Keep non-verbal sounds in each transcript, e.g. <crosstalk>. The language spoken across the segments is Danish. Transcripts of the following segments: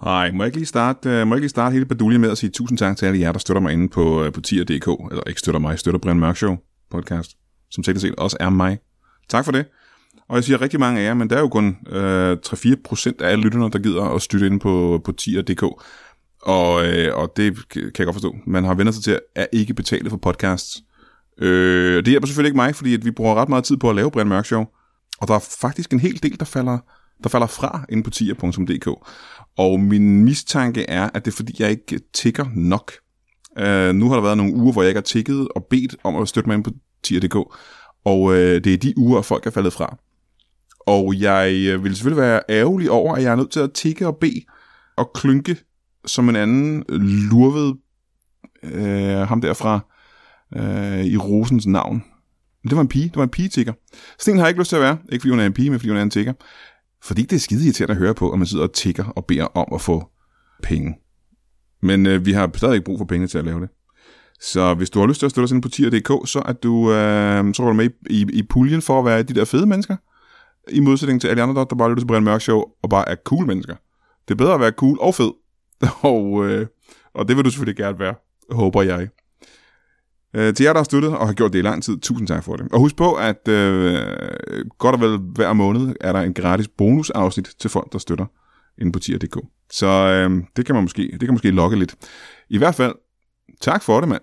Hej, må jeg ikke lige starte, øh, må jeg ikke lige starte hele baduljen med at sige tusind tak til alle jer, der støtter mig inde på, øh, på tier.dk, eller ikke støtter mig, støtter Brian Mørk Show podcast, som teknisk set også er mig. Tak for det. Og jeg siger rigtig mange af jer, men der er jo kun øh, 3-4 procent af alle lytterne, der gider at støtte inde på, på tier.dk. Og, øh, og det kan jeg godt forstå. Man har vendt sig til at ikke betale for podcasts. Øh, det hjælper selvfølgelig ikke mig, fordi at vi bruger ret meget tid på at lave Brian Mørk Show. Og der er faktisk en hel del, der falder, der falder fra inde på tier.dk. Og min mistanke er, at det er fordi, jeg ikke tigger nok. Øh, nu har der været nogle uger, hvor jeg ikke har tigget og bedt om at støtte mig ind på tier.dk. Og øh, det er de uger, folk er faldet fra. Og jeg øh, vil selvfølgelig være ærgerlig over, at jeg er nødt til at tikke og bede og klynke som en anden lurved øh, ham derfra øh, i Rosens navn. Men det var en pige. Det var en pige-tigger. Sten har jeg ikke lyst til at være. Ikke fordi hun er en pige, men fordi hun er en tigger. Fordi det er skide irriterende at høre på, at man sidder og tigger og beder om at få penge. Men øh, vi har stadig ikke brug for penge til at lave det. Så hvis du har lyst til at støtte os ind på tier.dk, så er du, øh, så er du med i, i, i puljen for at være de der fede mennesker. I modsætning til alle andre, der bare lytter til Brian Mørk Show og bare er cool mennesker. Det er bedre at være cool og fed. <laughs> Og, øh, og det vil du selvfølgelig gerne være, håber jeg. Øh, til jer, der har støttet og har gjort det i lang tid, tusind tak for det. Og husk på, at øh, godt og vel hver måned er der en gratis bonusafsnit til folk, der støtter inde på tier.dk. Så øh, det kan man måske, det kan måske lokke lidt. I hvert fald, tak for det, mand.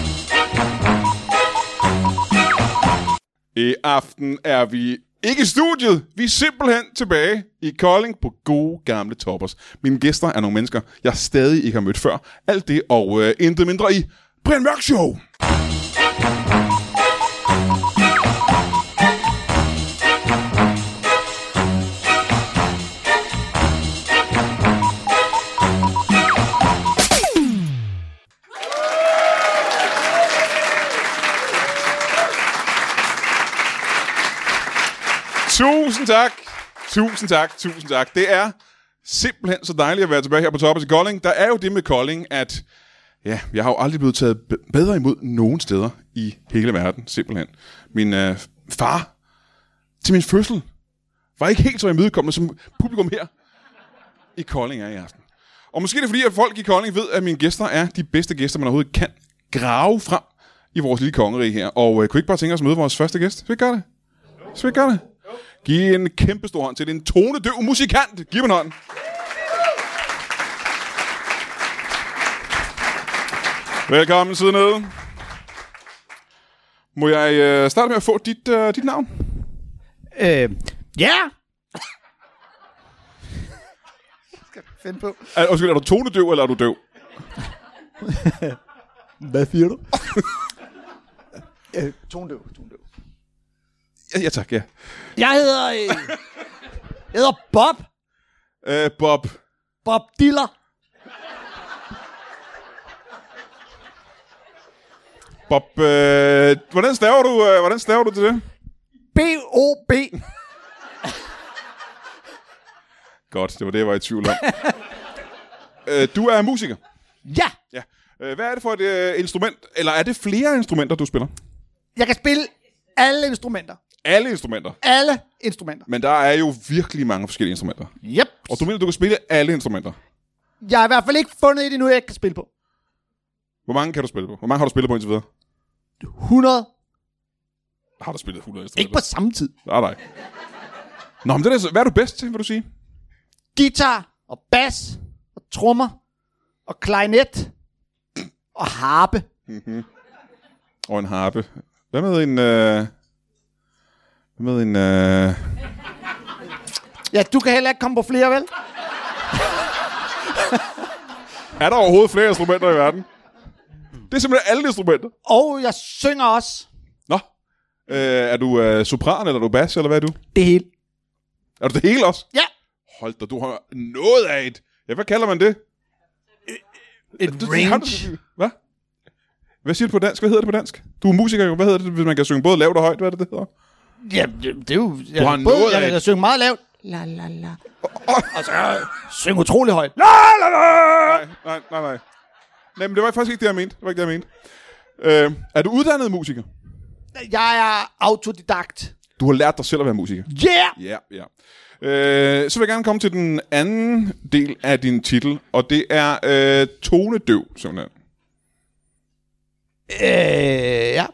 I aften er vi ikke i studiet. Vi er simpelthen tilbage i Kolding på gode gamle toppers. Mine gæster er nogle mennesker, jeg stadig ikke har mødt før. Alt det og øh, intet mindre i Brian Mørk Show. Tusind tak. Tusind tak. Tusind tak. Det er simpelthen så dejligt at være tilbage her på toppen i Kolding. Der er jo det med Kolding, at ja, jeg har jo aldrig blevet taget be- bedre imod nogen steder i hele verden, simpelthen. Min øh, far til min fødsel var ikke helt så imødekommende som publikum her i Kolding er i aften. Og måske er det fordi, at folk i Kolding ved, at mine gæster er de bedste gæster, man overhovedet kan grave frem i vores lille kongerige her. Og øh, kunne I ikke bare tænke os at møde vores første gæst? Skal vi ikke gøre det? Skal vi ikke gøre det? Giv en kæmpe stor hånd til den tonedøv musikant. Giv mig en hånd. Velkommen sidde nede. Må jeg øh, starte med at få dit, øh, dit navn? Øh, ja! skal jeg finde på. Er, Øh, undskyld, er du tonedøv, eller er du døv? Hvad siger du? <laughs> øh, tondøv, tondøv. Ja, ja tak, ja. Jeg hedder... Øh, jeg hedder Bob. Øh, Bob. Bob Diller. Bob, øh, hvordan, staver du, øh, hvordan staver du til det? B-O-B. Godt, det var det, jeg var i tvivl om. øh, du er musiker. Ja! Ja. Øh, hvad er det for et øh, instrument, eller er det flere instrumenter, du spiller? Jeg kan spille alle instrumenter. Alle instrumenter. Alle instrumenter. Men der er jo virkelig mange forskellige instrumenter. Yep. Og du mener, du kan spille alle instrumenter? Jeg har i hvert fald ikke fundet et endnu, jeg ikke kan spille på. Hvor mange kan du spille på? Hvor mange har du spillet på indtil videre? 100. Har du spillet 100 instrumenter? Ikke på samme tid. Nej, nej. Nå, men det er, så- hvad er du bedst til, vil du sige? Guitar og bas og trommer og klarinet og harpe. Og en harpe. Hvad med en... Øh... Hvad med en... Øh... Ja, du kan heller ikke komme på flere, vel? Er der overhovedet flere instrumenter i verden? Det er simpelthen alle instrumenter. Og jeg synger også Nå. Øh, er du øh, sopran, eller er du bas, eller hvad er du? det hele. Er du det hele også? Ja, Hold da, du har noget af et Ja, hvad kalder man det? Et Du- har du- range. Hvad? Hvad siger du på dansk? Hvad hedder det på dansk? Du er musiker jo. Hvad hedder det, hvis man kan synge både lavt og højt? Hvad er det, det hedder? Ja, det, det er jo... Jeg, har både, noget jeg af kan et- synge meget lavt. La, la, la. Og så øh, synge utrolig højt. La! Nej, nej, nej, nej. Nej, men det var faktisk ikke det, jeg mente. Det var ikke det, jeg mente. Øh, er du uddannet musiker? Jeg er autodidakt. Du har lært dig selv at være musiker. Yeah! Ja, ja. Øh, så vil jeg gerne komme til den anden del af din titel, og det er øh, tonedøv, simpelthen. Øh, ja.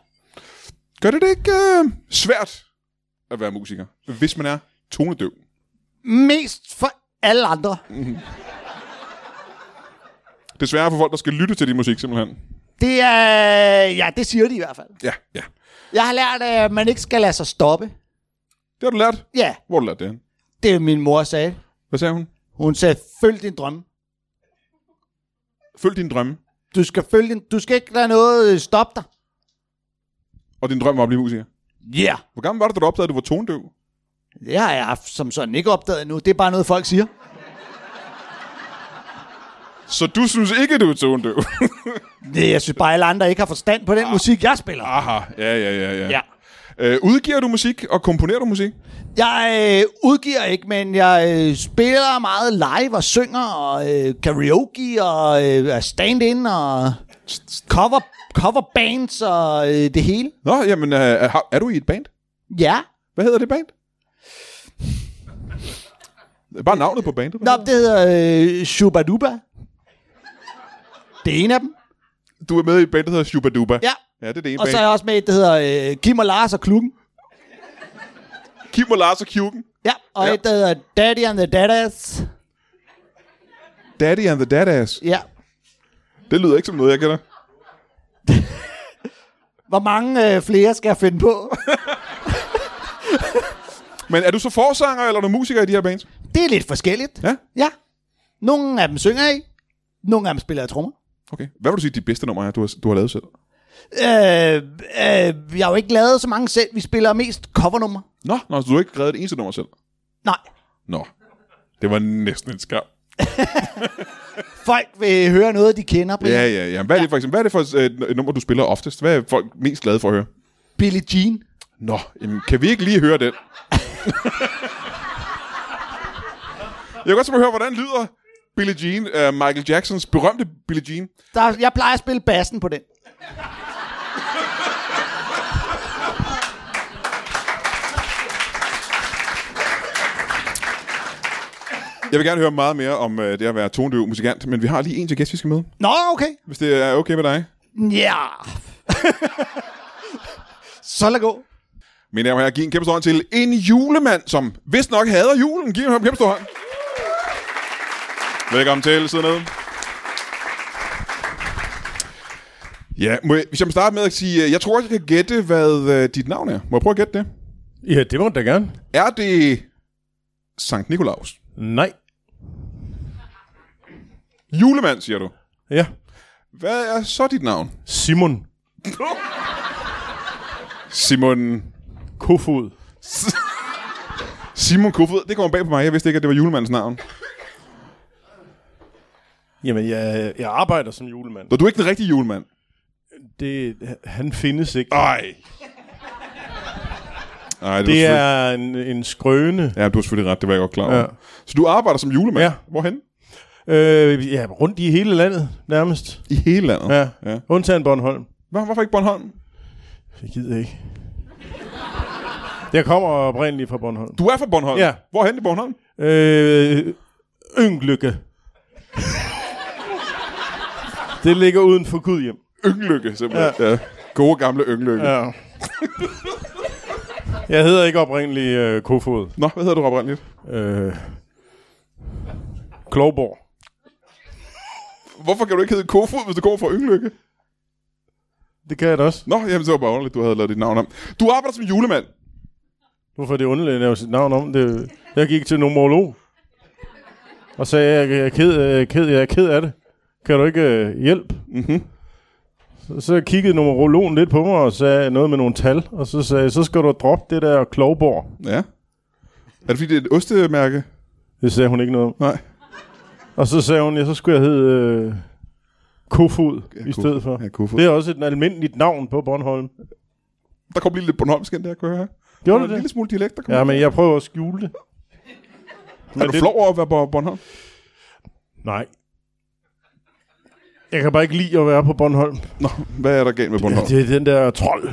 Gør det det ikke øh, svært at være musiker, hvis man er tonedøv? Mest for alle andre. Det er sværere for folk, der skal lytte til din musik, simpelthen. Det er... Ja, det siger de i hvert fald. Ja, ja. Jeg har lært, at man ikke skal lade sig stoppe. Det har du lært. Ja, Hvor har du lært det henne? det er min mor sagde. Hvad sagde hun? Hun sagde, følg din drømme. Følg din drømme. Du skal, følge din, du skal ikke lade noget øh, stoppe dig. Og din drøm var at blive musiker. Ja. Yeah. Hvor gammel var du, da du opdagede, at du var tonedøv? Det har jeg haft som sådan ikke opdaget endnu. Det er bare noget, folk siger. Så du synes ikke, du er tonedøv? Det, jeg synes bare, alle andre ikke har forstand på den musik, jeg spiller. <laughs> Aha, Ah. ja, ja, ja. ja. Ja. Øh, udgiver du musik, og komponerer du musik? Jeg øh, udgiver ikke, men jeg øh, spiller meget live og synger og øh, karaoke og øh, er stand-in og cover, cover bands og øh, det hele. Nå, jamen, øh, har- er du i et band? Ja. Hvad hedder det band? Bare navnet på bandet. Nå, det hedder øh, Shubaduba. Det er en af dem. Du er med i et band, der hedder Shubaduba. Ja. Ja, det er det ene Og band. så er jeg også med i et, der hedder øh, Kim og Lars og Klukken. Kim og Lars og Kjuken. Ja, og Ja. ja. et, der hedder Daddy and the Daddas. Daddy and the Dadass. Ja. Det lyder ikke som noget, jeg kender. Hvor mange øh, flere skal jeg finde på? Men er du så forsanger, eller er du musiker i de her bands? Det er lidt forskelligt. Ja. Ja. Nogle af dem synger i. Nogle af dem spiller jeg trommer. Okay. Hvad vil du sige, de bedste numre er, du har, du har lavet selv? Øh, øh, jeg har jo ikke lavet så mange selv. Vi spiller mest covernummer. Nå, nå så du har ikke reddet et eneste nummer selv? Nej. Nå. Det var næsten en skam. Folk vil høre noget, de kender. Brian. Ja, ja, ja. Hvad er det for eksempel? Hvad er det for øh, et nummer, du spiller oftest? Hvad er folk mest glade for at høre? Billie Jean. Nå, jamen, kan vi ikke lige høre den? jeg kan godt tænke mig at høre, hvordan lyder Billie Jean, uh, Michael Jacksons berømte Billie Jean. Der, jeg plejer at spille bassen på den. Jeg vil gerne høre meget mere om uh, det at være tondøv musikant, men vi har lige en til gæst, vi skal med, Nå, okay. hvis det er okay med dig. Ja. <laughs> så lad gå. Men jeg må her give en kæmpe stor hånd til en julemand, som vist nok hader julen. Giv ham en kæmpe stor hånd. Velkommen til, sidde ned. Ja, må jeg, hvis jeg må starte med at sige, øh, jeg tror, jeg kan gætte, hvad øh, dit navn er. Må jeg prøve at gætte det? Ja, det må du da gerne. Er det Sankt Nikolaus? Nej. Julemand, siger du. Ja. Hvad er så dit navn? Simon Simon... Kofod. Simon Kofod. Det kommer bag på mig. Jeg vidste ikke, at det var julemandens navn. Jamen, jeg, jeg arbejder som julemand. Så du er ikke den rigtige julemand? Det, han findes ikke. Ej. Ej, det, var Det selvfølgelig- er en, en skrøne. Ja, du har selvfølgelig ret, det var jeg godt klar over. Ja. Ja. Så du arbejder som julemand? Ja. Hvorhen? Øh, ja, rundt i hele landet, nærmest. I hele landet? Ja. ja. Undtagen Bornholm. Hvor, hvorfor ikke Bornholm? Jeg gider ikke. Jeg kommer oprindeligt fra Bornholm. Du er fra Bornholm? Ja. Hvorhen i Bornholm? Øh, Ynglykke. det ligger uden for Gudhjem. Ynglykke, simpelthen. Ja. ja. Gode gamle Ynglykke. Ja. Ja. Jeg hedder ikke oprindeligt øh, Kofod. Nå, hvad hedder du oprindeligt? Øh, Klovborg. Hvorfor kan du ikke hedde Kofod, hvis du går fra Ynglykke? Det kan jeg da også. Nå, jamen det var bare underligt, du havde lavet dit navn om. Du arbejder som julemand. Hvorfor er det underligt at lave sit navn om? Det, jeg gik til nomolog og sagde, jeg, jeg, er ked, jeg, er ked, jeg er ked af det. Kan du ikke øh, hjælpe? Mhm. Så, så kiggede numerologen lidt på mig og sagde noget med nogle tal. Og så sagde jeg, så skal du droppe det der Klovborg. Ja. Er det fordi, det er et ostemærke? Det sagde hun ikke noget om. Nej. Og så sagde hun, ja, så skulle jeg hedde øh, Kofod i Kofod. stedet for. Ja, Kofod. Det er også et almindeligt navn på Bornholm. Der kom lige lidt Bornholmsk ind der, kunne jeg høre. Der Gjorde var du en lille det? smule dialekt, der kom. Ja, men jeg prøver at skjule det. er du det- flov over at være på Bornholm? Nej. Jeg kan bare ikke lide at være på Bornholm. Nå, hvad er der galt med Bornholm? Det er den der trold.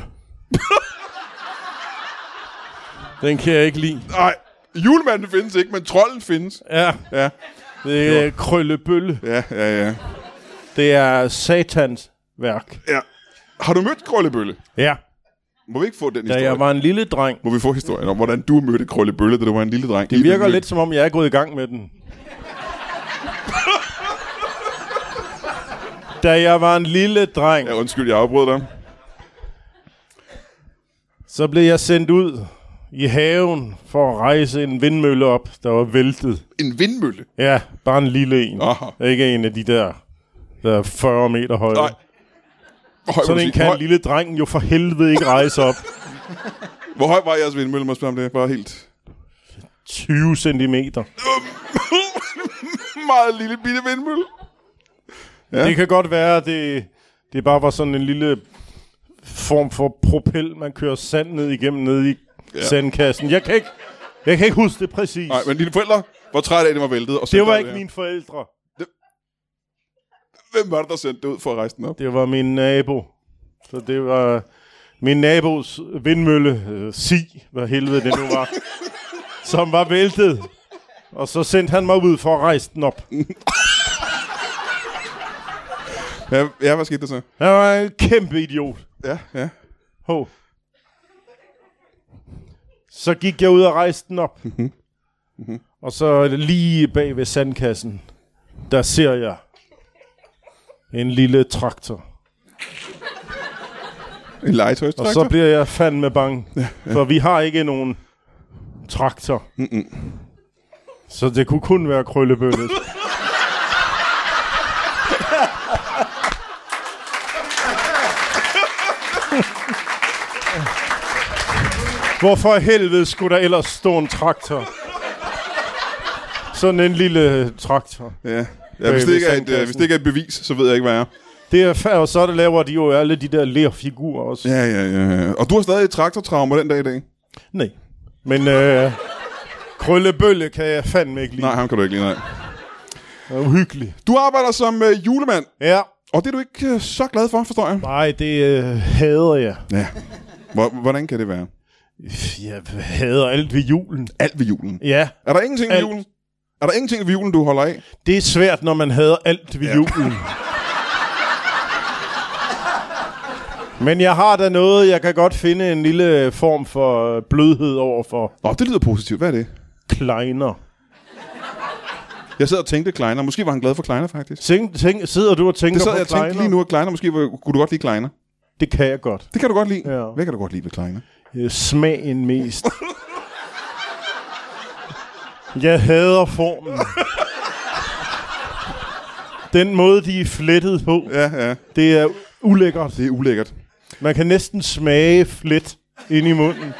den kan jeg ikke lide. Nej, julemanden findes ikke, men trolden findes. Ja, Ja, det er krøllebølle. ja, ja. ja. Det er satans værk. ja. Har du mødt Krøllebølle? Ja. Må vi ikke få den Da historie? jeg var en lille dreng. Må vi få historien om, hvordan du mødte Krøllebølle, da du var en lille dreng? Det virker lidt som om, jeg er gået i gang med den. da jeg var en lille dreng, Ja, undskyld, jeg afbrød dig. så blev jeg sendt ud i haven for at rejse en vindmølle op, der var væltet. En vindmølle? Ja, bare en lille en. Aha. Ikke en af de der, der er 40 meter høje. Nej. Hvor høj, Sådan vil en du sige? kan Hvor en lille dreng jo for helvede ikke rejse op. høj- Hvor høj var jeres vindmølle, må jeg spørge om det? Bare helt... <laughs> 20 centimeter. Meget lille bitte vindmølle. Ja. Det kan godt være, at det, det bare var sådan en lille form for propel, man kører sand ned igennem ned i ja. sandkassen. Jeg kan, ikke, jeg kan ikke huske det præcis. Nej, men dine forældre var trætte af, at det var væltet. Og sendte det var dig ikke der. mine forældre. Hvem var det, der sendte det ud for at rejse den op? Det var min nabo. Så det var min nabos vindmølle, øh, Si, hvad helvede det nu var, som var væltet. Og så sendte han mig ud for at rejse den op. Ja, ja hvad skete der så? Han var en kæmpe idiot. Ja, ja. Ho. Så gik jeg ud og rejste den op. og så lige bag ved sandkassen, der ser jeg en lille traktor. En legetøjstraktor? Og så bliver jeg fandme bange. For vi har ikke nogen traktor. Så det kunne kun være krøllebøllet. Hvorfor helvede skulle der ellers stå en traktor? Sådan en lille traktor. Ja. ja hvis, det ikke er et, øh, sandkassen. hvis det ikke er et bevis, så ved jeg ikke, hvad jeg er. Det er fair, og så laver de jo alle de der lerfigurer også. Ja, ja, ja. Og du har stadig et traktortraume den dag i dag? Nej. Men øh, krøllebølle kan jeg fandme ikke lide. Nej, ham kan du ikke lide, nej. Det er uhyggeligt. Du arbejder som øh, julemand, Ja. og det er du ikke øh, så glad for, forstår jeg. Nej, det øh, hader jeg. Ja. Hvor, hvordan kan det være? Jeg hader alt ved julen. Alt ved julen. Ja, Er der ingenting ved Alt. julen? Er der ingenting ved julen, du holder af? det er svært, når man hader alt Ja. ved ja. julen. Men jeg har da noget, jeg kan godt finde en lille form for blødhed over for Nå, det lyder positivt. Hvad er det? kleiner. Jeg sidder og tænkte Kleiner. Måske var han glad for Kleiner, faktisk. Tænk, tænk, sidder du og tænker Det sad på jeg og tænkte kleiner? lige nu, at Kleiner måske var, kunne du godt lide Kleiner. Det kan jeg godt. Det kan du godt lide. Ja. Hvad kan du godt lide ved Kleiner? Øh, Smagen mest. Jeg hader formen. Den måde, de er flettet på. Ja, ja. Det er ulækkert. Det er ulækkert. Man kan næsten smage flet ind i munden.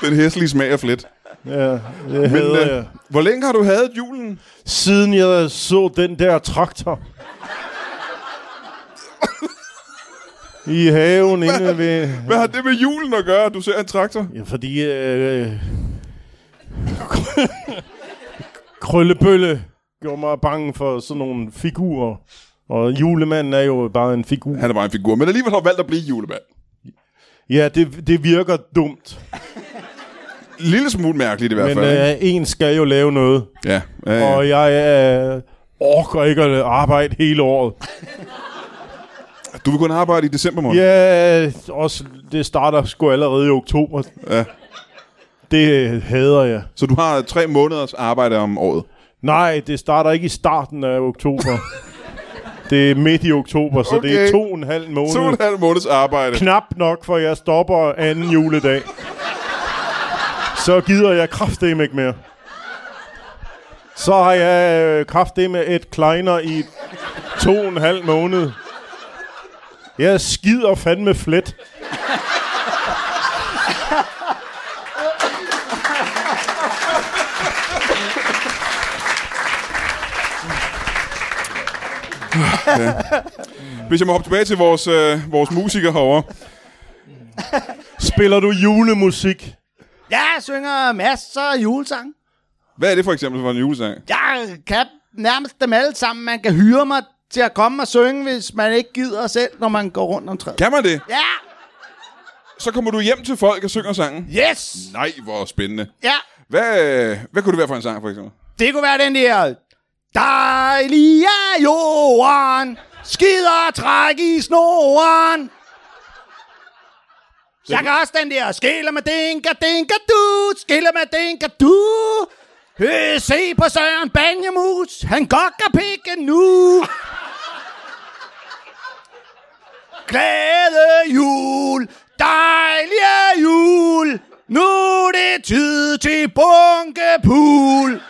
Den hæslige smag er flet. Ja, det Men, hader øh, jeg. hvor længe har du hadet julen? Siden jeg så den der traktor. I haven inde ved... Hvad har det med julen at gøre, at du ser en traktor? Ja, fordi... Øh, <laughs> Krøllebølle gjorde mig bange for sådan nogle figurer. Og julemanden er jo bare en figur. Han er bare en figur, men alligevel har valgt at blive julemand. Ja, det, det virker dumt. Lille smule mærkeligt i hvert Men fald. ikke? øh, en skal jo lave noget. ja, ja, ja. Og jeg øh, orker ikke at arbejde hele året. Du vil kun arbejde i december måned. Ja, også, det starter sgu allerede i oktober. Ja. Det øh, hader jeg. Så du har tre måneders arbejde om året. Nej, det starter ikke i starten af <laughs> oktober. det er midt i oktober, så okay. det Okay. er to og en halv To og måned. en halv måneds arbejde. Knap nok, for jeg stopper anden juledag. Så gider jeg kraftedeme ikke mere. Så har jeg øh, kraftedeme et kleiner i to og en halv måned. Jeg skider fandme flet. Hvis jeg må hoppe tilbage til vores, øh, vores musiker herovre. Spiller du julemusik? Jeg synger masser af julesang. Hvad er det for eksempel for en julesang? Jeg kan nærmest dem alle sammen. Man kan hyre mig til at komme og synge, hvis man ikke gider selv, når man går rundt om træet. Kan man det? Ja! Så kommer du hjem til folk og synger sangen. Yes! Nej, hvor spændende. Ja! Hvad, øh, hvad kunne det være for en sang, for eksempel? Det kunne være den der... Dejlig er jorden, skider træk i snoren. Jeg kan også den der, skiller med dinka, dinka du, skiller med dinka du. Øh, se på Søren Banjemus, han godt kan pikke nu. Glæde jul, dejlige jul, nu er det tid til bunkepool.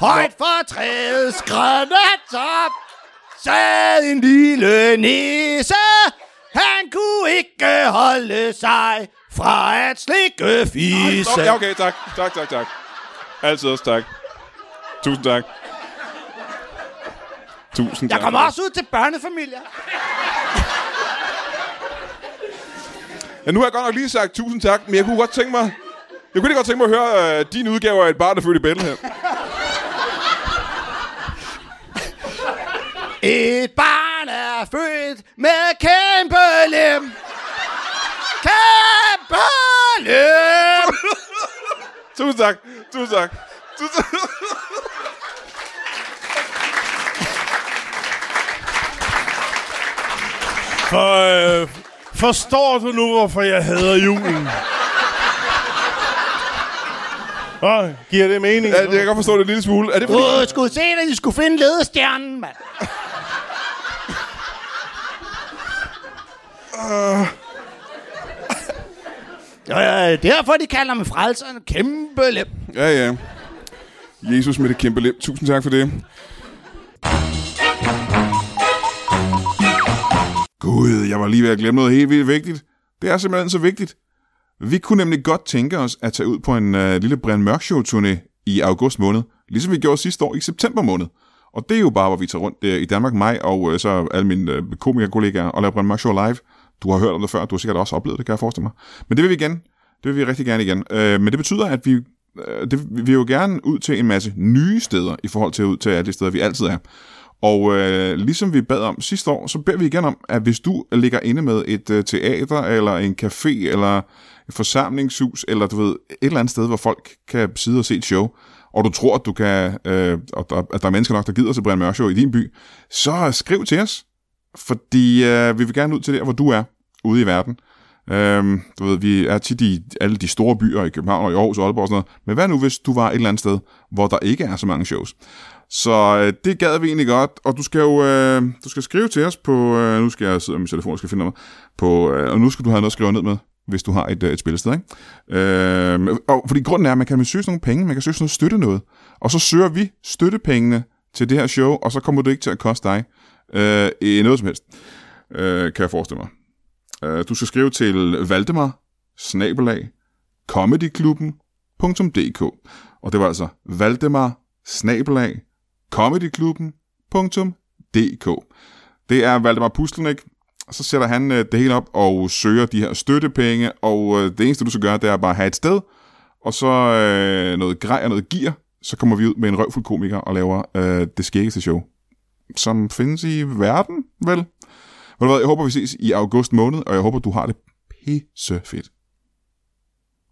Højt for træets grønne top sad en lille nisse. Han kunne ikke holde sig fra at slikke fisse. Okay, okay, tak. Tak, tak, tak. Altid også tak. Tusind tak. Tusind Jeg tak. kommer også ud til børnefamilier. Ja, nu har jeg godt nok lige sagt tusind tak, men jeg kunne godt tænke mig... Jeg kunne lige godt tænke mig at høre øh, din udgave af et barn, der fødte i Bethlehem. Et barn er født med kæmpe lem. Kæmpe lem. Tusind tak. Tusind tak. Tusind tak. For, øh, forstår du nu, hvorfor jeg hader julen? Åh, giver det mening? Ja, det- jeg kan godt forstå det en lille smule. Er det fordi... Du skulle se, at de skulle finde ledestjernen, mand. Øh. Det er derfor, de kalder mig frelseren. Kæmpe lem. Ja, ja. Jesus med det kæmpe lem. Tusind tak for det. Gud, jeg var lige ved at glemme noget helt vildt vigtigt. Det er simpelthen så vigtigt. Vi kunne nemlig godt tænke os at tage ud på en øh, lille Brian Mørk Show turné i august måned, ligesom vi gjorde sidste år i september måned. Og det er jo bare, hvor vi tager rundt øh, i Danmark, mig og øh, så alle mine øh, komikerkollegaer og laver Brian Mørk Show live. Du har hørt om det før, du har sikkert også oplevet det, kan jeg forestille mig. Men det vil vi igen. Det vil vi rigtig gerne igen. Øh, men det betyder, at vi, øh, det, vi vil jo gerne ud til en masse nye steder i forhold til ud til alle de steder, vi altid er. Og øh, ligesom vi bad om sidste år, så beder vi igen om, at hvis du ligger inde med et øh, teater, eller en café, eller et forsamlingshus, eller du ved, et eller andet sted, hvor folk kan sidde og se et show, og du tror, at, du kan, øh, og der, at der er mennesker nok, der gider til Brian Mørk Show i din by, så skriv til os, fordi øh, vi vil gerne ud til der, hvor du er ude i verden. Øhm, du ved, vi er tit i alle de store byer i København og i Aarhus og Aalborg og sådan noget. Men hvad nu, hvis du var et eller andet sted, hvor der ikke er så mange shows? Så øh, det gad vi egentlig godt, og du skal jo øh, du skal skrive til os på, øh, nu skal jeg sidde med min telefon, jeg skal finde mig, på, øh, og nu skal du have noget at skrive ned med, hvis du har et, øh, et spillested, ikke? Øh, og fordi grunden er, at man kan søge sådan nogle penge, man kan søge sådan noget støtte noget, og så søger vi støttepengene til det her show, og så kommer det ikke til at koste dig øh, i noget som helst, øh, kan jeg forestille mig. Øh, du skal skrive til Valdemar, snabelag, comedyklubben.dk. Og det var altså Valdemar, snabelag, comedyklubben.dk. Det er Valdemar Puslenik. Så sætter han øh, det hele op og søger de her støttepenge, og øh, det eneste, du skal gøre, det er bare at have et sted, og så øh, noget grej og noget gear, så kommer vi ud med en røvfuld komiker og laver øh, det skæggeste show, som findes i verden, vel? Ved du hvad, jeg håber, vi ses i august måned, og jeg håber, du har det pisse fedt.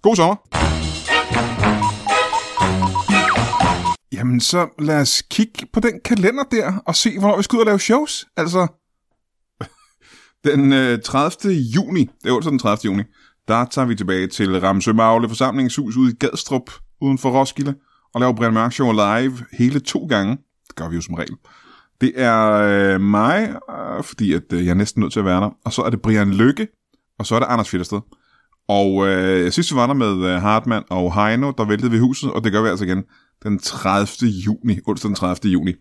God sommer! Jamen, så lad os kigge på den kalender der, og se, hvornår vi skal ud og lave shows. Altså, <laughs> den øh, 30. juni, det er altså den 30. juni, der tager vi tilbage til Ramsø Magle forsamlingshus ude i Gadstrup, uden for Roskilde, og laver Brian Mørk Show live hele to gange. Det gør vi jo som regel. Det er øh, mig, øh, fordi at, øh, jeg er næsten nødt til at være der. Og så er det Brian Lykke, og så er det Anders Fittersted. Og øh, sidst vi var der med øh, Hartmann og Heino, der væltede vi huset, og det gør vi altså igen den 30. juni, onsdag den 30. juni.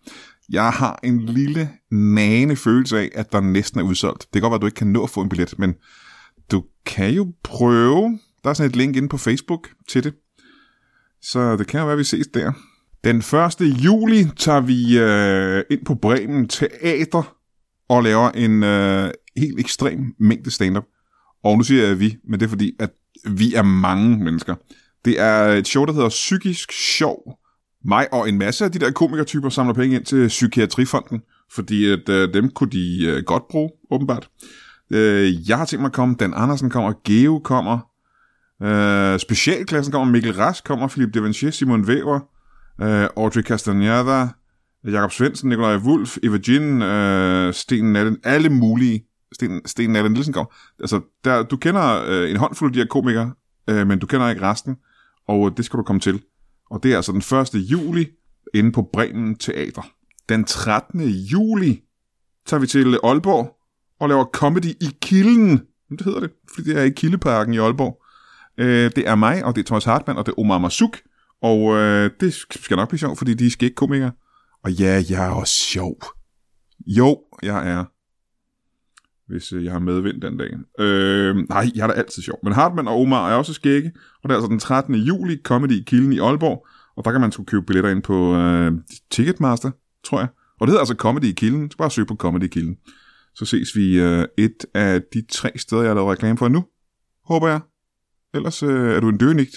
Jeg har en lille nagende følelse af, at der næsten er udsolgt. Det kan godt være, at du ikke kan nå at få en billet, men du kan jo prøve. Der er sådan et link inde på Facebook til det. Så det kan jo være, at vi ses der. Den 1. juli tager vi øh, ind på Bremen Teater og laver en øh, helt ekstrem mængde stand-up. Og nu siger jeg vi, men det er fordi, at vi er mange mennesker. Det er et show, der hedder Psykisk Sjov. Mig og en masse af de der komikertyper samler penge ind til Psykiatrifonden, fordi at, øh, dem kunne de øh, godt bruge, åbenbart. Øh, jeg har tænkt mig at komme, Dan Andersen kommer, Geo kommer, øh, Specialklassen kommer, Mikkel Rask kommer, Philip Devanchier, Simon Væver, øh, Audrey Castaneda, Jakob Svendsen, Nikolaj Wulf, Eva Jean, øh, Sten Nallen, alle mulige. Sten, Sten Nallen Nielsen kom. Altså, der, du kender øh, en håndfuld af de her komikere, øh, men du kender ikke resten, og øh, det skal du komme til. Og det er altså den 1. juli inde på Bremen Teater. Den 13. juli tager vi til Aalborg og laver comedy i Kilden. Jamen, Det hedder det, fordi det er i Kildeparken i Aalborg. Øh, det er mig, og det er Thomas Hartmann, og det er Omar Masuk. Og øh, det skal nok blive sjovt, fordi de skal ikke komikere. Og ja, jeg er også sjov. Jo, jeg er. Hvis øh, jeg har medvind den dag. Øh, nej, jeg er da altid sjov. Men Hartmann og Omar er også skægge. Og det er altså den 13. juli, Comedy i Kilden i Aalborg. Og der kan man sgu købe billetter ind på øh, Ticketmaster, tror jeg. Og det hedder altså Comedy i Kilden. Så bare søg på Comedy i Kilden. Så ses vi øh, et af de tre steder, jeg har lavet reklame for nu. Håber jeg. Ellers øh, er du en døgnigt,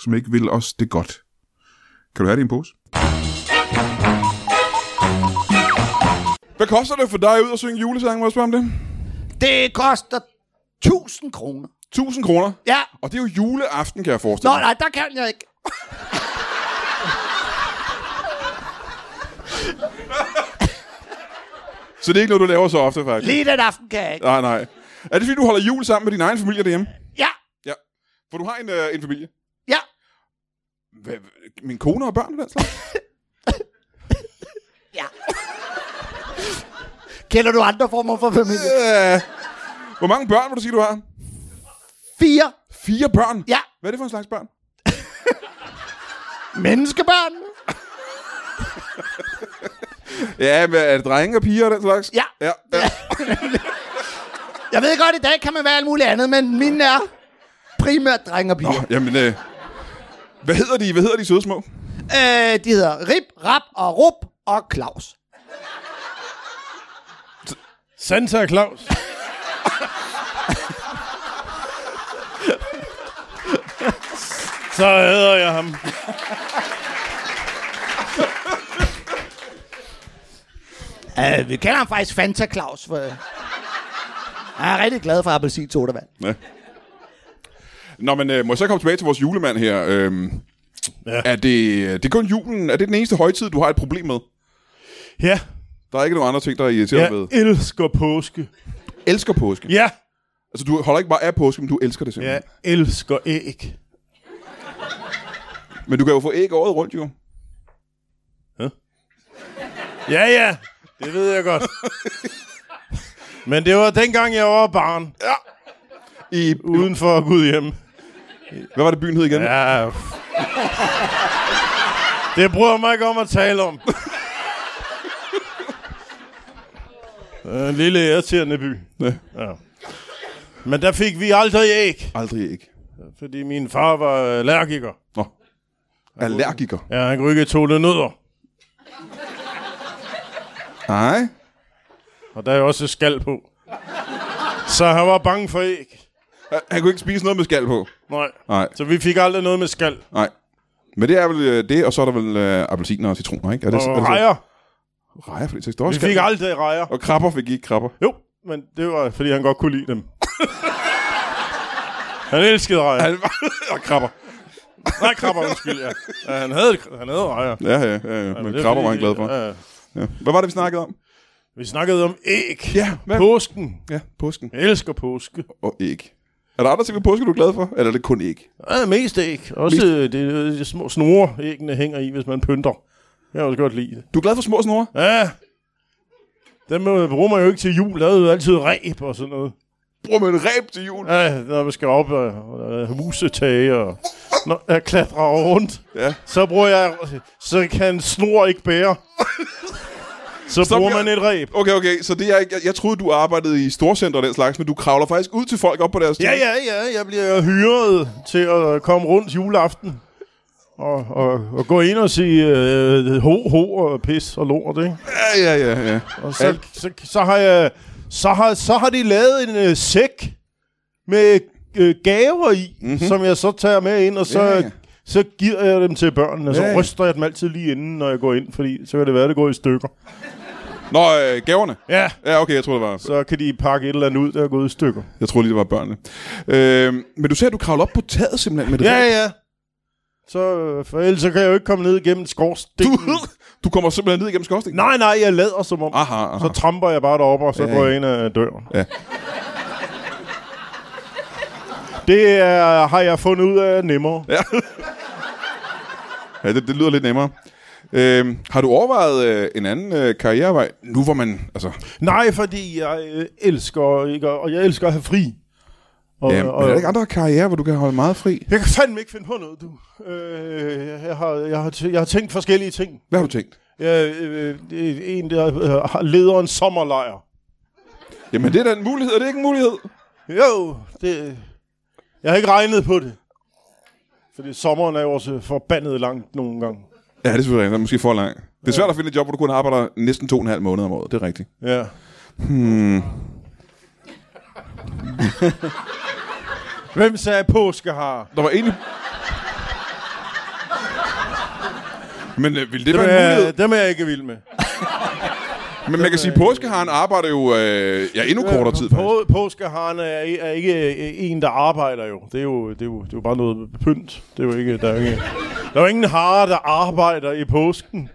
som ikke vil os det godt. Kan du have det i en pose? Hvad koster det for dig ud at synge julesang, må jeg spørge om det? Det koster 1000 kroner. 1000 kroner. Ja. Og det er jo juleaften, kan jeg Nå, forestille mig. nej, der kan jeg ikke. Så det er ikke noget, du laver så ofte, faktisk? Lige den aften kan jeg ikke. Nej, nej. Er det fordi, du holder jul sammen med din egen familie derhjemme? Ja, Ja. For du har en, øh, en familie. ja. Hvad, min kone og børn og den slags? Ja. Kender du andre former for familie? øh, hvor mange børn vil du sige, du har? Fire. Fire børn? Ja. Hvad er det for en slags børn? Menneskebørn. Ja, hvad, er det drenge og piger og den slags? Ja. ja, ja. Jeg ved godt, i dag kan man være alt muligt andet, men mine er primært drenge og piger. Oh, jamen, øh, hvad hedder de? Hvad hedder de søde små? Øh, de hedder Rip, Rap og Rup og Claus. Santa Claus. Så hedder jeg ham. Øh, vi kalder ham faktisk Fanta Claus. For... Jeg er rigtig glad for appelsintodavand. Ja. Nå, men øh, må jeg så komme tilbage til vores julemand her? Øhm, ja. Ja. Er det, øh, det er kun julen? Er det den eneste højtid, du har et problem med? Ja, Der er ikke nogen andre ting, der irriterer jeg dig ved. elsker påske. Elsker påske. Ja. Ja, Altså, du holder ikke bare af påske, men du elsker det simpelthen. jeg elsker æg. Men du kan jo få æg året rundt, jo. Ja, ja, det ved <laughs> jeg godt. Men det var dengang, jeg var barn, I, uden for at gå ud hjem. hvad var det, byen hed igen? Ja. Ja. Det bryder jeg mig ikke om at tale om. Øh, En lille irriterende by. Ja. Ja. Men der fik vi aldrig æg, Aldrig æg. fordi min far var allergiker. Nå. Allergiker. Ja, han kunne ikke tåle nødder. Nej. Og der er jo også skal på. Så han var bange for æg. Han- Han kunne ikke spise noget med skal på. Nej. Nej. Så vi fik aldrig noget med skal. Nej. Men det er vel øh, det, og så er der vel øh, appelsiner og citroner, ikke? Er det, er Og det så- rejer. Rejer, fordi det står Vi fik aldrig rejer. Og krabber fik I ikke krabber. Jo, men det var, fordi han godt kunne lide <laughs> dem. han elskede rejer. Han var... og krabber. Nej, krabber, undskyld, ja. ja han, havde, han havde rejer. Ja, ja, ja. ja. Men det krabber var han glad fordi, for. Ja, ja. Ja. Hvad var det, vi snakkede om? vi snakkede om æg. Ja, hvad- Påsken. Ja, påsken. Jeg elsker påske. Og æg. Er der andre ting ved påske, du er glad for? Eller er det kun æg? Ja, mest æg. Også øh, det, øh, de små snore, æggene hænger i, hvis man pynter. Jeg kan også godt lide det. Du er glad for små snore? Ja. Dem øh, bruger man jo ikke til jul. Der er jo altid ræb og sådan noget. Bruger man en ræb til jul? Ja, når man skal op og, og husetage og når jeg klatrer rundt, Ja. så bruger jeg, så kan en snor ikke bære. Så, Så bruger bliver- man et ræb. Okay, okay. Så det er ikke... Jeg, jeg troede, du arbejdede i storcenter og den slags, men du kravler faktisk ud til folk op på deres... Ja, ja, ja, jeg bliver hyret til at komme rundt juleaften. Og, og, og gå ind og sige øh, ho, ho og pis og lort, ikke? Ja, ja, ja, ja. Og så, så, så, har jeg, så, har, så har de lavet en øh, sæk med øh, gaver i, mm-hmm. som jeg så tager med ind, og så, Mhm. Ja, ja. så giver jeg dem til børnene. Og så Ja, ja. ryster jeg dem altid lige inden, når jeg går ind, fordi så kan det være, at det går i stykker. Nå, øh, gaverne. Ja, Ja, okay, jeg tror det var... så kan de pakke et eller andet ud, der er gået i stykker. Jeg tror lige, det var børnene. Øh, men du ser, at du kravler op på taget simpelthen med det Ja, der. ja. Så, øh, for ellers så kan jeg jo ikke komme ned igennem skorstenen. Du, du kommer simpelthen ned igennem skorstenen. Nej, nej, jeg lader som om. Aha, aha. Så tramper jeg bare deroppe, og så Ja, går ja. jeg ind ad døren. Ja. Det er, har jeg fundet ud af er nemmere. Ja. Ja, det, det lyder lidt nemmere. Øh, har du overvejet øh, en anden øh, karrierevej, nu hvor man... Altså, Nej, fordi jeg øh, elsker, ikke? og jeg elsker at have fri. Og, ja, men er der ikke andre karrierer, hvor du kan holde meget fri? jeg kan fandme ikke finde på noget, du. Øh, jeg, har, jeg, har, tæ- jeg har tænkt forskellige ting. Hvad har du tænkt? Jeg, øh, øh, en, der øh, har- leder en sommerlejr. Jamen, det er da en mulighed. Er det ikke en mulighed? Jo, det... Jeg har ikke regnet på det. Fordi sommeren er jo også forbandet langt nogle gange. Ja, det er selvfølgelig rigtigt. Måske for langt. Det er svært at finde et job, hvor du kun arbejder næsten to og en halv måned om året. Det er rigtigt. Ja. Hmm. Hvem sagde påske har? Der var egentlig... Men øh, ville det, det Dem være en er, mulighed? dem er jeg ikke vild med. Men man kan sige, at påskeharen arbejder jo øh, ja, endnu kortere tid, faktisk. På, påskeharen er, er ikke øh, en, der arbejder jo. Det er jo, det er jo, det er jo bare noget pynt. Det er jo ikke, der er jo ikke, der er jo ingen hare, der arbejder i påsken.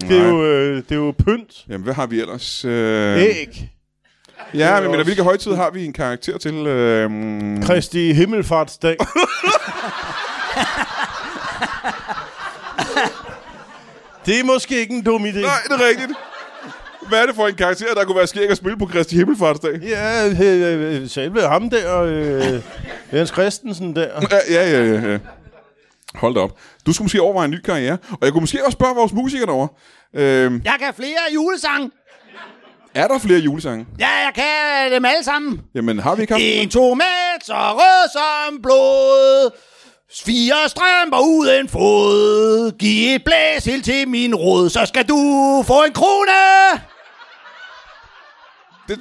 Det er, jo, øh, det er jo pynt. Jamen, hvad har vi ellers? Øh, Æg. ja, men, men også- hvilke højtid har vi en karakter til? Øh, mm, <laughs> Kristi Himmelfartsdag. det er måske ikke en dum idé. Nej, det er rigtigt. Hvad er det for en karakter, der kunne være skæg at spille på Kristi Himmelfartsdag? Ja, øh, øh, selve ham der, øh, Jens Christensen der. Ja, ja, ja, ja, ja. Hold da op. Du skulle måske overveje en ny karriere. Og jeg kunne måske også spørge vores musikere derovre. Øh, Jeg kan flere julesange. er der flere julesange? Ja, jeg kan øh, dem alle sammen. Jamen, har vi ikke haft... En tomat så rød som blod. Fire strømper uden fod. Giv et blæs helt til min råd, så skal du få en krone. Det,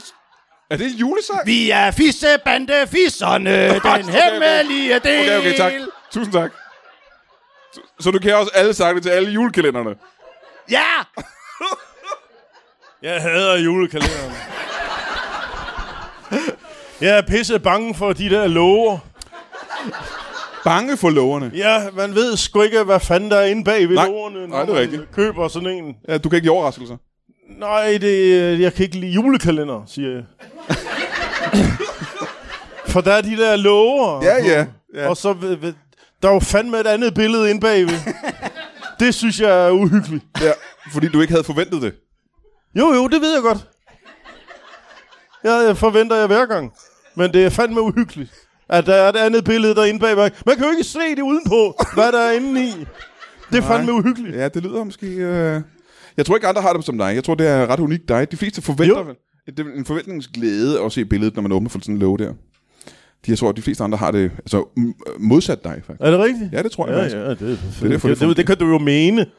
er det en julesang? Vi er fissebande fisserne, den <laughs> okay. hemmelige del. Okay, okay, tak. Tusind tak. Så, så du kan også alle sange til alle julekalenderne. Ja, Jeg hader julekalenderen. Jeg er pisse bange for de der lover. Bange for loverne. Ja, man ved sgu ikke, hvad fanden der er inde bag ved Nej, loverne, nej, det er man rigtigt. køber sådan en. Ja, du kan ikke lide overraskelser. Nej, det, øh, jeg kan ikke lide julekalender, siger jeg. For der er de der lover. Ja, ja, ja. Og så, ved- ved- der er jo fandme et andet billede inde bagved. det synes jeg er uhyggeligt. Ja, fordi du ikke havde forventet det. Jo, jo, det ved jeg godt. Jeg øh, forventer jeg hver gang. Men det er fandme uhyggeligt, at der er et andet billede derinde bagved. Man kan jo ikke se det udenpå, hvad der er inde i. Det er fandme uhyggeligt. Ja, det lyder måske... Øh... Jeg tror ikke, andre har det som dig. Jeg tror, det er ret unikt dig. De fleste forventer Jo. vel. Det er en forventningsglæde at se billedet, når man åbner for sådan en låge der. De, jeg tror, at de fleste andre har det altså, m- modsat dig, faktisk. Er det rigtigt? Ja, det tror jeg Ja, faktisk. ja, det, det, derfor, det det, det, det kan du jo mene. Det jeg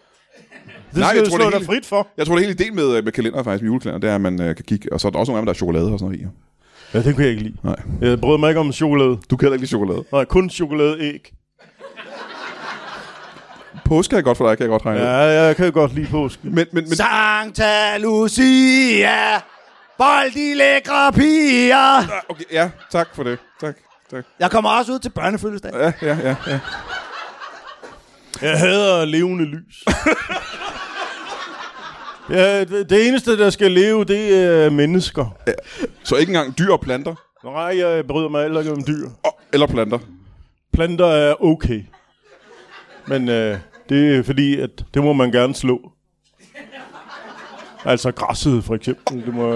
skal jeg tror, tror, det er slå dig helt- frit for. Jeg tror, det hele ideen med, med kalender, faktisk, med julekalender, det er, at man øh, kan kigge. Og så er der også nogle af dem, der er chokolade og sådan noget i. Ja, det kan jeg ikke lide. Nej, Jeg brød mig ikke om chokolade. du kan heller ikke lide chokolade. Nej, kun chokoladeæg. Påske er godt for dig, kan jeg godt regne ud. Ja, jeg kan godt lide påske. Men, men, men Santa Lucia. Bold de lækre piger. okay, ja, tak for det. Tak, tak. Jeg kommer også ud til børnefødselsdag. Ja, ja, ja, ja. Jeg hader levende <laughs> lys. ja, det, det eneste, der skal leve, det er mennesker. Så ikke engang dyr og planter. Nej, jeg bryder mig heller ikke om dyr. Og, eller planter. Planter er okay. Men øh, det er fordi, at det må man gerne slå. Altså græsset, for eksempel. Det må,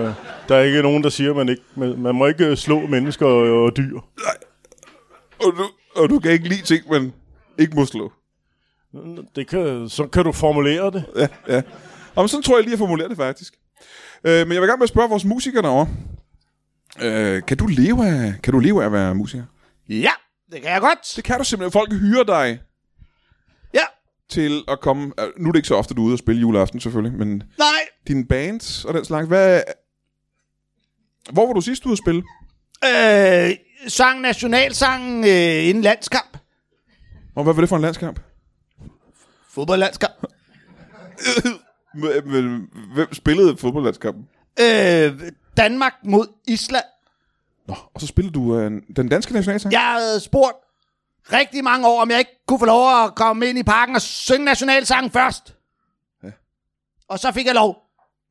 der er ikke nogen, der siger, at man ikke... Man, man må ikke øh, slå mennesker og, og dyr. Og du, og du kan ikke lide ting, man ikke må slå. Det kan, så kan du formulere det. Ja, ja. Og men sådan tror jeg lige, at formulere det faktisk. Øh, men jeg vil gerne med at spørge vores musikere derovre. Øh, kan, du leve af, kan du leve af at være musiker? Ja, det kan jeg godt. Det kan du simpelthen. Folk hyrer dig. til at komme... øh, Nu er det ikke så ofte, du er ude og spille juleaften selvfølgelig, men Nej, dine bands og den slags, hvad... Hvor var du sidst ude at spille? øh, sang nationalsangen øh, inden landskamp. Og hvad var det for en landskamp? Fodboldlandskamp. Hvem- hvem- Hvem spillede fodboldlandskampen? Øh, Danmark mod Island. Nå, og så spillede du øh, den danske nationalsang? Jeg havde spurgt rigtig mange år, om jeg ikke kunne få lov at komme ind i parken og synge nationalsangen først. Ja. Og så fik jeg lov.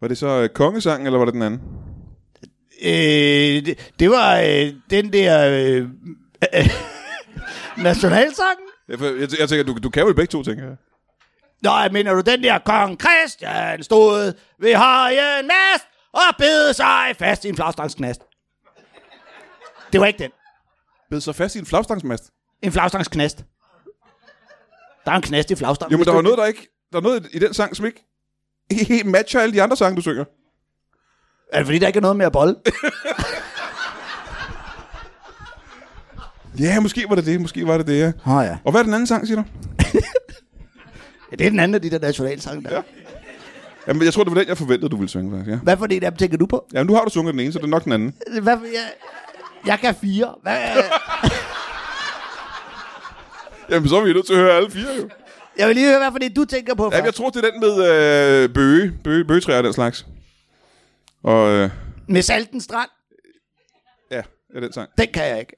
Var det så øh, kongesangen, eller var det den anden? Øh, det, det var øh, den der øh, <laughs> øh, nationalsang. Jeg, jeg, jeg tænker, du, du kan jo begge to, tænker jeg. Nå, mener du den der kong Christian stod ved høje næst og bed sig fast i en flagstangsknast. Det var ikke den. Bed så fast i en flagstangsmast. En flagstangsknast. Der er en knast i flagstangen. Jo, men der var noget, der ikke... Der er noget i den sang, som ikke <laughs> ikke helt matcher alle de andre sange, du synger. Er det fordi, der ikke er noget med at bolle? Ja, måske var det det, måske var det det, ja. Åh oh, ja. Og hvad er den anden sang, siger du? ja. Det er den anden af de der nationalsange der. Ja. Jamen, jeg tror, det var den, jeg forventede, du ville synge, faktisk, ja. Hvad for en af dem tænker du på? Jamen, nu har du sunget den ene, så det er nok den anden. Hvad for, jeg, jeg kan fire. Hvad, Jamen, så er vi nødt til at høre alle fire, jo. jeg vil lige høre, hvad for en du tænker på Jamen, jeg først. tror, det er den med øh, bøge, bøge, bøgetræer og den slags. Og øh, Med Salten Strand? ja, ja, den sang. Den kan jeg ikke.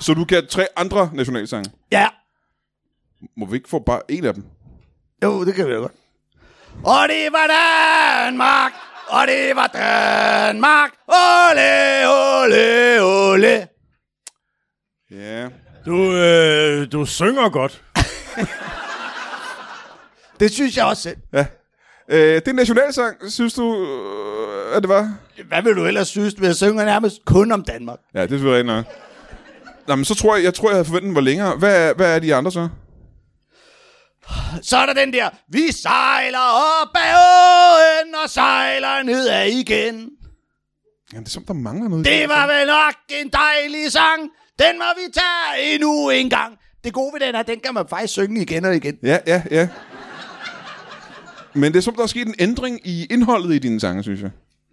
Så du kan tre andre nationalsange. Ja, Må vi ikke få bare en af dem? jo, det kan vi da godt. Og det var Danmark, og det var Danmark. Ole, ole, ole. Ja. Du, øh, du synger godt. Det synes jeg også selv. ja. Øh, det er en nationalsang, synes du, øh, at det var? Hvad vil du ellers synes, hvis jeg synger nærmest kun om Danmark? Ja, det er selvfølgelig rigtigt nok. Nå, men så tror jeg, jeg tror, jeg havde forventet, den var længere. Hvad, er- hvad er de andre så? Så er der den der, vi sejler op ad åen og sejler nedad igen. Jamen, det er som, der mangler noget. Det var vel nok en dejlig sang. Den må vi tage endnu en gang. Det gode ved den er, at den kan man faktisk synge igen og igen. Ja, ja, ja. Men det er som, der er sket en ændring i indholdet i dine sange, synes jeg.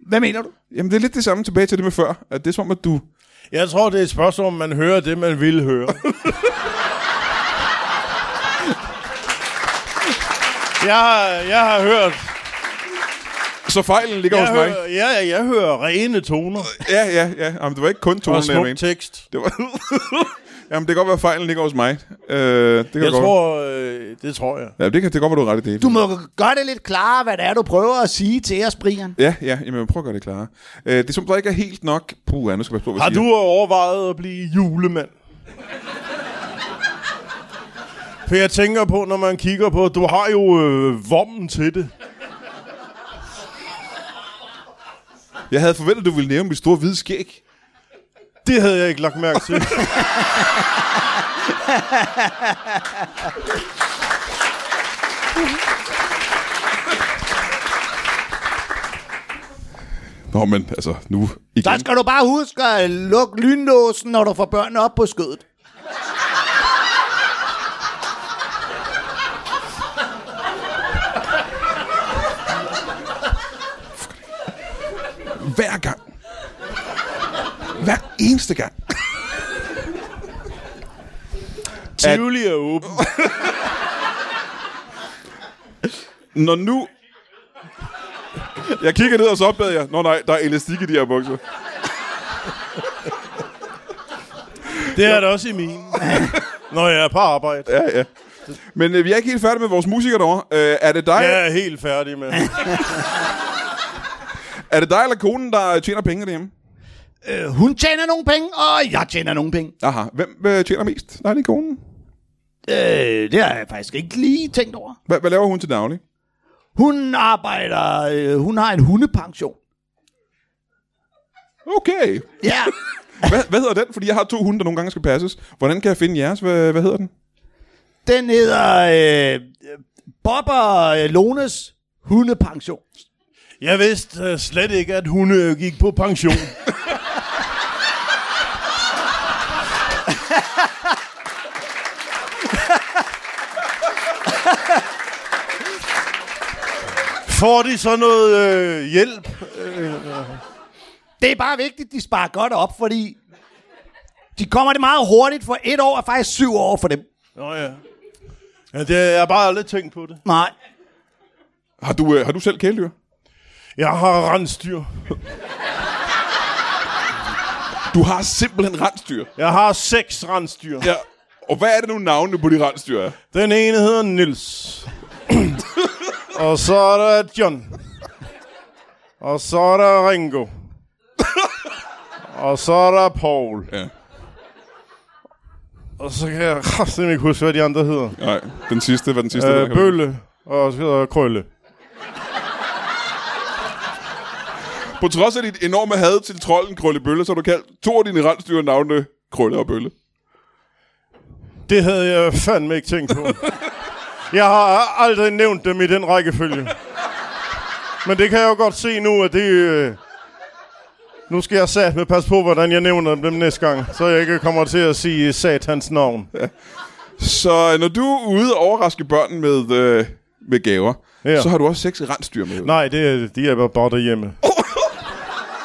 Hvad mener du? Jamen, det er lidt det samme tilbage til det med før. At det er som, at du... Jeg tror, det er et spørgsmål, om man hører det, man vil høre. jeg, har, jeg har hørt... Så fejlen ligger Jeg hos mig. hører, ja, ja, jeg hører rene toner Ja, ja, ja. Jamen, det var ikke kun tonen, og jeg smuk mente. tekst. Det var... <laughs> Jamen, det kan godt være, at fejlen ligger hos mig. Øh, det kan Jeg godt. tror, øh, det tror jeg. Ja, det kan, det kan godt være, du har ret i det. Du må gøre det lidt klarere, hvad det er, du prøver at sige til os, Brian. Ja, ja. Jamen, jeg prøver at gøre det klare. Øh, det er som, der ikke er helt nok... Puh, ja, nu skal jeg passe på, hvad jeg Har siger. du overvejet at blive julemand? For jeg tænker på, når man kigger på, du har jo øh, vommen til det. Jeg havde forventet, at du ville nævne mit store hvide skæg. Det havde jeg ikke lagt mærke <laughs> til. Nå, men altså, nu igen. Så skal du bare huske at lukke lynlåsen, når du får børnene op på skødet. Hver gang. Hver eneste gang. Tivoli er åben. Når nu... Jeg kigger ned, og så opdagede jeg... Nå nej, der er elastik i de her bukser. Det er det også i min. Når jeg er på arbejde. Ja, ja. Men øh, vi er ikke helt færdige med vores musikere derovre. Øh, er det dig, Jeg er helt færdig med. Er det dig eller konen, der tjener penge derhjemme? Øh, hun tjener nogle penge, og jeg tjener nogle penge. Aha. Hvem øh, tjener mest? Nej, det er konen. Øh, det har jeg faktisk ikke lige tænkt over. Hvad, hvad laver hun til daglig? Hun arbejder, øh, hun har en hundepension. Okay. Ja, Hvad, hvad hedder den? Fordi jeg har to hunde, der nogle gange skal passes. Hvordan kan jeg finde jeres? Hvad, hvad hedder den? den hedder øh, Bob og øh, Lones hundepension. Jeg vidste øh, slet ikke, at hun øh, gik på pension. Får de så noget øh, hjælp? Øh, Det er bare vigtigt, at de sparer godt op, fordi de kommer det meget hurtigt, for et år er faktisk syv år for dem. Nå ja. Ja, det, jeg har bare aldrig tænkt på det. Nej. Har du, øh, har du selv kæledyr? Jeg har rensdyr. Du har simpelthen rensdyr. Jeg har seks rensdyr. Ja. Og hvad er det nu navnene på de rensdyr er? Den ene hedder Nils. og så er der John. Og så er der Ringo. og så er der Paul. Ja. Og så kan jeg kraftigt ikke huske, hvad de andre hedder. Nej, den sidste. Hvad er den sidste? der Øh, kan- Bølle og så hedder jeg Krølle. På trods af dit enorme had til trolden Krølle Bølle, så har du kaldt to af dine rensdyr navne Krølle og Bølle. Det havde jeg fandme ikke tænkt på. jeg har aldrig nævnt dem i den rækkefølge. Men det kan jeg jo godt se nu, at det... Øh... Nu skal jeg sat med passe på, hvordan jeg nævner dem næste gang, så jeg ikke kommer til at sige satans navn. Så øh, når du er ude og overraske børn med, øh, med gaver, ja. Ja. så har du også seks rensdyr med. Nej, det er, de er bare- bare derhjemme.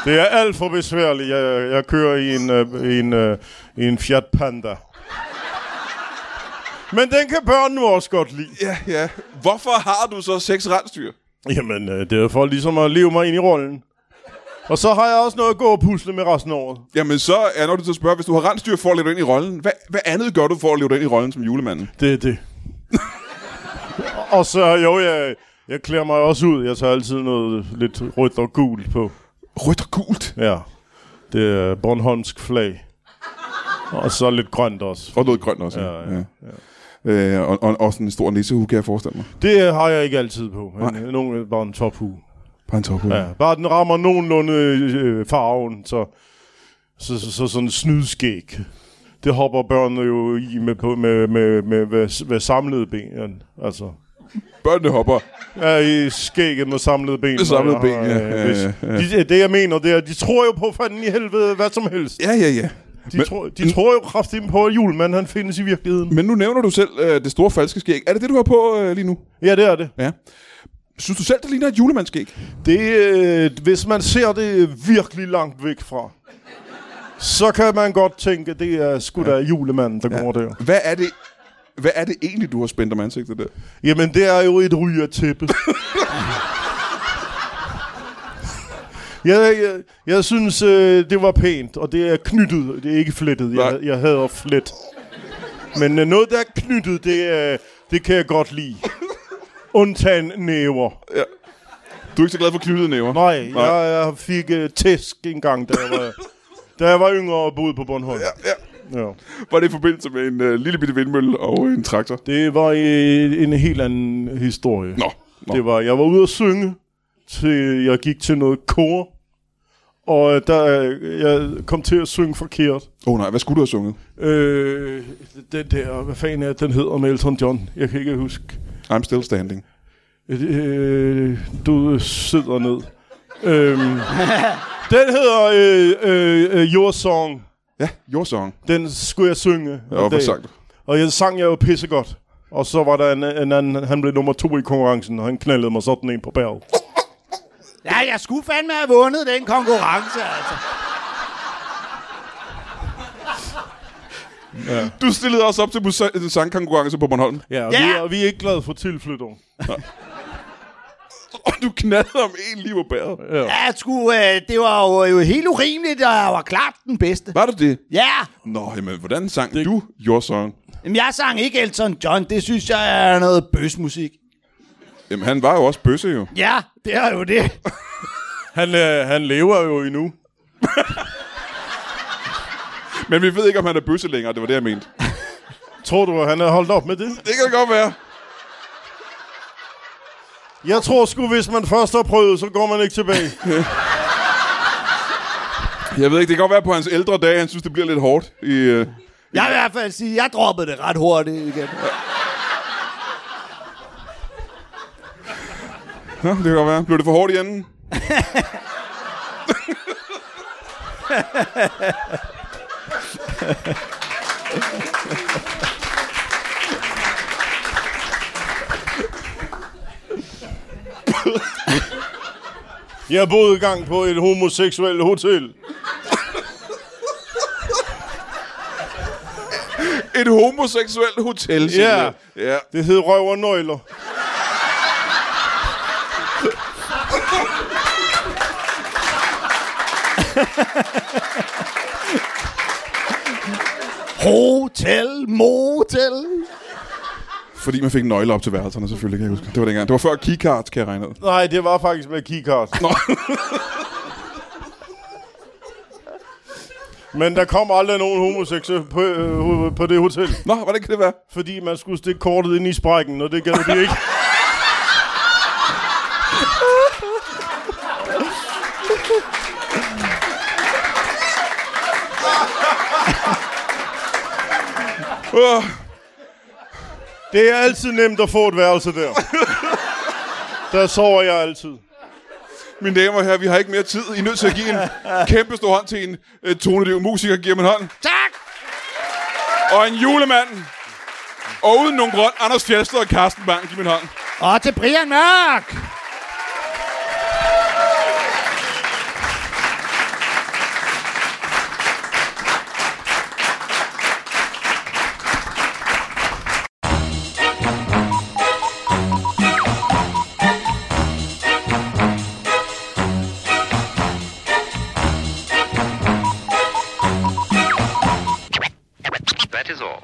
Det er alt for besværligt. Jeg, jeg kører i en, øh, i en, øh, i en Fiat Panda. Men den kan børn nu også godt lide. Ja, ja. Hvorfor har du så seks rensdyr? Jamen, øh, det er for ligesom at leve mig ind i rollen. Og så har jeg også noget at gå og pusle med resten af året. Jamen så er når du til at spørge, hvis du har rensdyr for at leve dig ind i rollen, hvad, hvad andet gør du for at leve dig ind i rollen som julemanden? Det er det. og så, jo, jeg, jeg klæder mig også ud. Jeg tager altid noget lidt rødt og gult på. Rødt og gult. Ja, det er Bornholmsk flag. Og så lidt grønt også. Og noget grønt også. Ja, ja. ja. Øh, og, og, og sådan en stor nissehue, kan jeg forestille mig. Det har jeg ikke altid på. Men Nej. Nogle, bare en tophue. Bare en tophue. Ja, bare den rammer nogenlunde øh, farven, så, så, så, så sådan en snydskæg. Det hopper børnene jo i med, på, med, med, med, med, med samlede ben. Altså, Børnene hopper. ja, i skægget med samlede ben. Med samlede Og jeg har, øh, ben, ja, ja, hvis- ja, ja. De, det jeg mener, det er, de tror jo på fanden i helvede, hvad som helst. Ja, ja, ja. De, men, tror, de tror jo kraftigt på, at julemanden han findes i virkeligheden. Men nu nævner du selv øh, det store falske skæg. Er det det, du har på øh, lige nu? Ja, det er det. Ja. Synes du selv, det ligner et julemandsskæg? Det, øh, hvis man ser det virkelig langt væk fra, så kan man godt tænke, det er sgu da julemanden, der ja. går der. Hvad er det, hvad er det egentlig, du har spændt om ansigtet der? Jamen, det er jo et <laughs> rygertæppe. jeg, jeg, jeg synes, øh, det var pænt, og det er knyttet, det er ikke flettet. Jeg, Nej. jeg hader flet. Men øh, noget, der er knyttet, det, øh, det kan jeg godt lide. Undtagen næver. Du er ikke så glad for knyttede næver? Nej, jeg, jeg fik øh, tæsk en gang, da jeg <laughs> var, da jeg var yngre og boede på Bornholm. Ja. Ja. Var det i forbindelse med en øh, lille bitte vindmølle og en traktor? Det var øh, en helt anden historie. Nå. Nå. Det var, jeg var ude at synge, til jeg gik til noget kor, og øh, der, øh, jeg kom til at synge forkert. Åh oh, nej, hvad skulle du have sunget? Øh, den der, hvad fanden er det, den hedder med Elton John? Jeg kan ikke huske. I'm still standing. Øh, du sidder ned. <laughs> Øhm, den hedder øh, øh, øh, Your Song. Ja, your song. Den skulle jeg synge. Ja, og hvorfor det- sagt du? Og jeg sang jeg jo pissegodt. Og så var der en, en anden, han blev nummer to i konkurrencen, og han knaldede mig sådan en på bæret. Ja, jeg skulle fandme have vundet den konkurrence, altså. Du stillede også op til musa- sangkonkurrence på Bornholm. <laughs> Ja, og Ja! Vi, er, vi er ikke glade for tilflytning. Og du knaldede om en lige på bæret. Ja, jeg skulle, øh, det var jo, jo helt urimeligt, og jeg var klart den bedste. Var det det? Ja, Nå, jamen, hvordan sang det... du your song? Jamen, jeg sang ikke Elton John. Det synes jeg er noget bøsmusik. Jamen, han var jo også bøsse jo. Ja, det er jo det. Han, øh, han lever jo endnu. Men vi ved ikke, om han er bøsse længere. Det var det, jeg mente. Tror du, at han er holdt op med det? Det kan det godt være. Jeg tror sgu, hvis man først har prøvet, så går man ikke tilbage. Jeg ved ikke, det kan godt være på hans ældre dage, han synes, det bliver lidt hårdt. I, øh... Jeg vil i hvert fald sige, at jeg droppede det ret hurtigt igen. Nå, det kan godt være. Blev det for hårdt i enden? Jeg boede engang på et homoseksuelt hotel. Et homoseksuelt hotel, simpelthen. Ja. Det hed Røv og Nøgler. Hotel, motel. Fordi man fik nøgler op til værelserne, selvfølgelig, kan jeg huske. Det var dengang. Det var før keycards, kan jeg regne ud. Nej, det var faktisk med keycard. Nå. Men der kom aldrig nogen homoseksuelle på, øh, på det hotel. Nå, hvordan kan det være? Fordi man skulle stikke kortet ind i sprækken, og det gad de ikke. Uh, Det er altid nemt at få et værelse der. Der sover jeg altid. mine damer og herrer, vi har ikke mere tid. I er nødt til at give en kæmpe stor hånd til en uh, tonedøv musiker. Giver man hånd. Tak! Og en julemand. Og uden nogen grund, Anders Fjellsted og Carsten Bang. Giv mig en hånd. Og til Brian Mørk! That is all.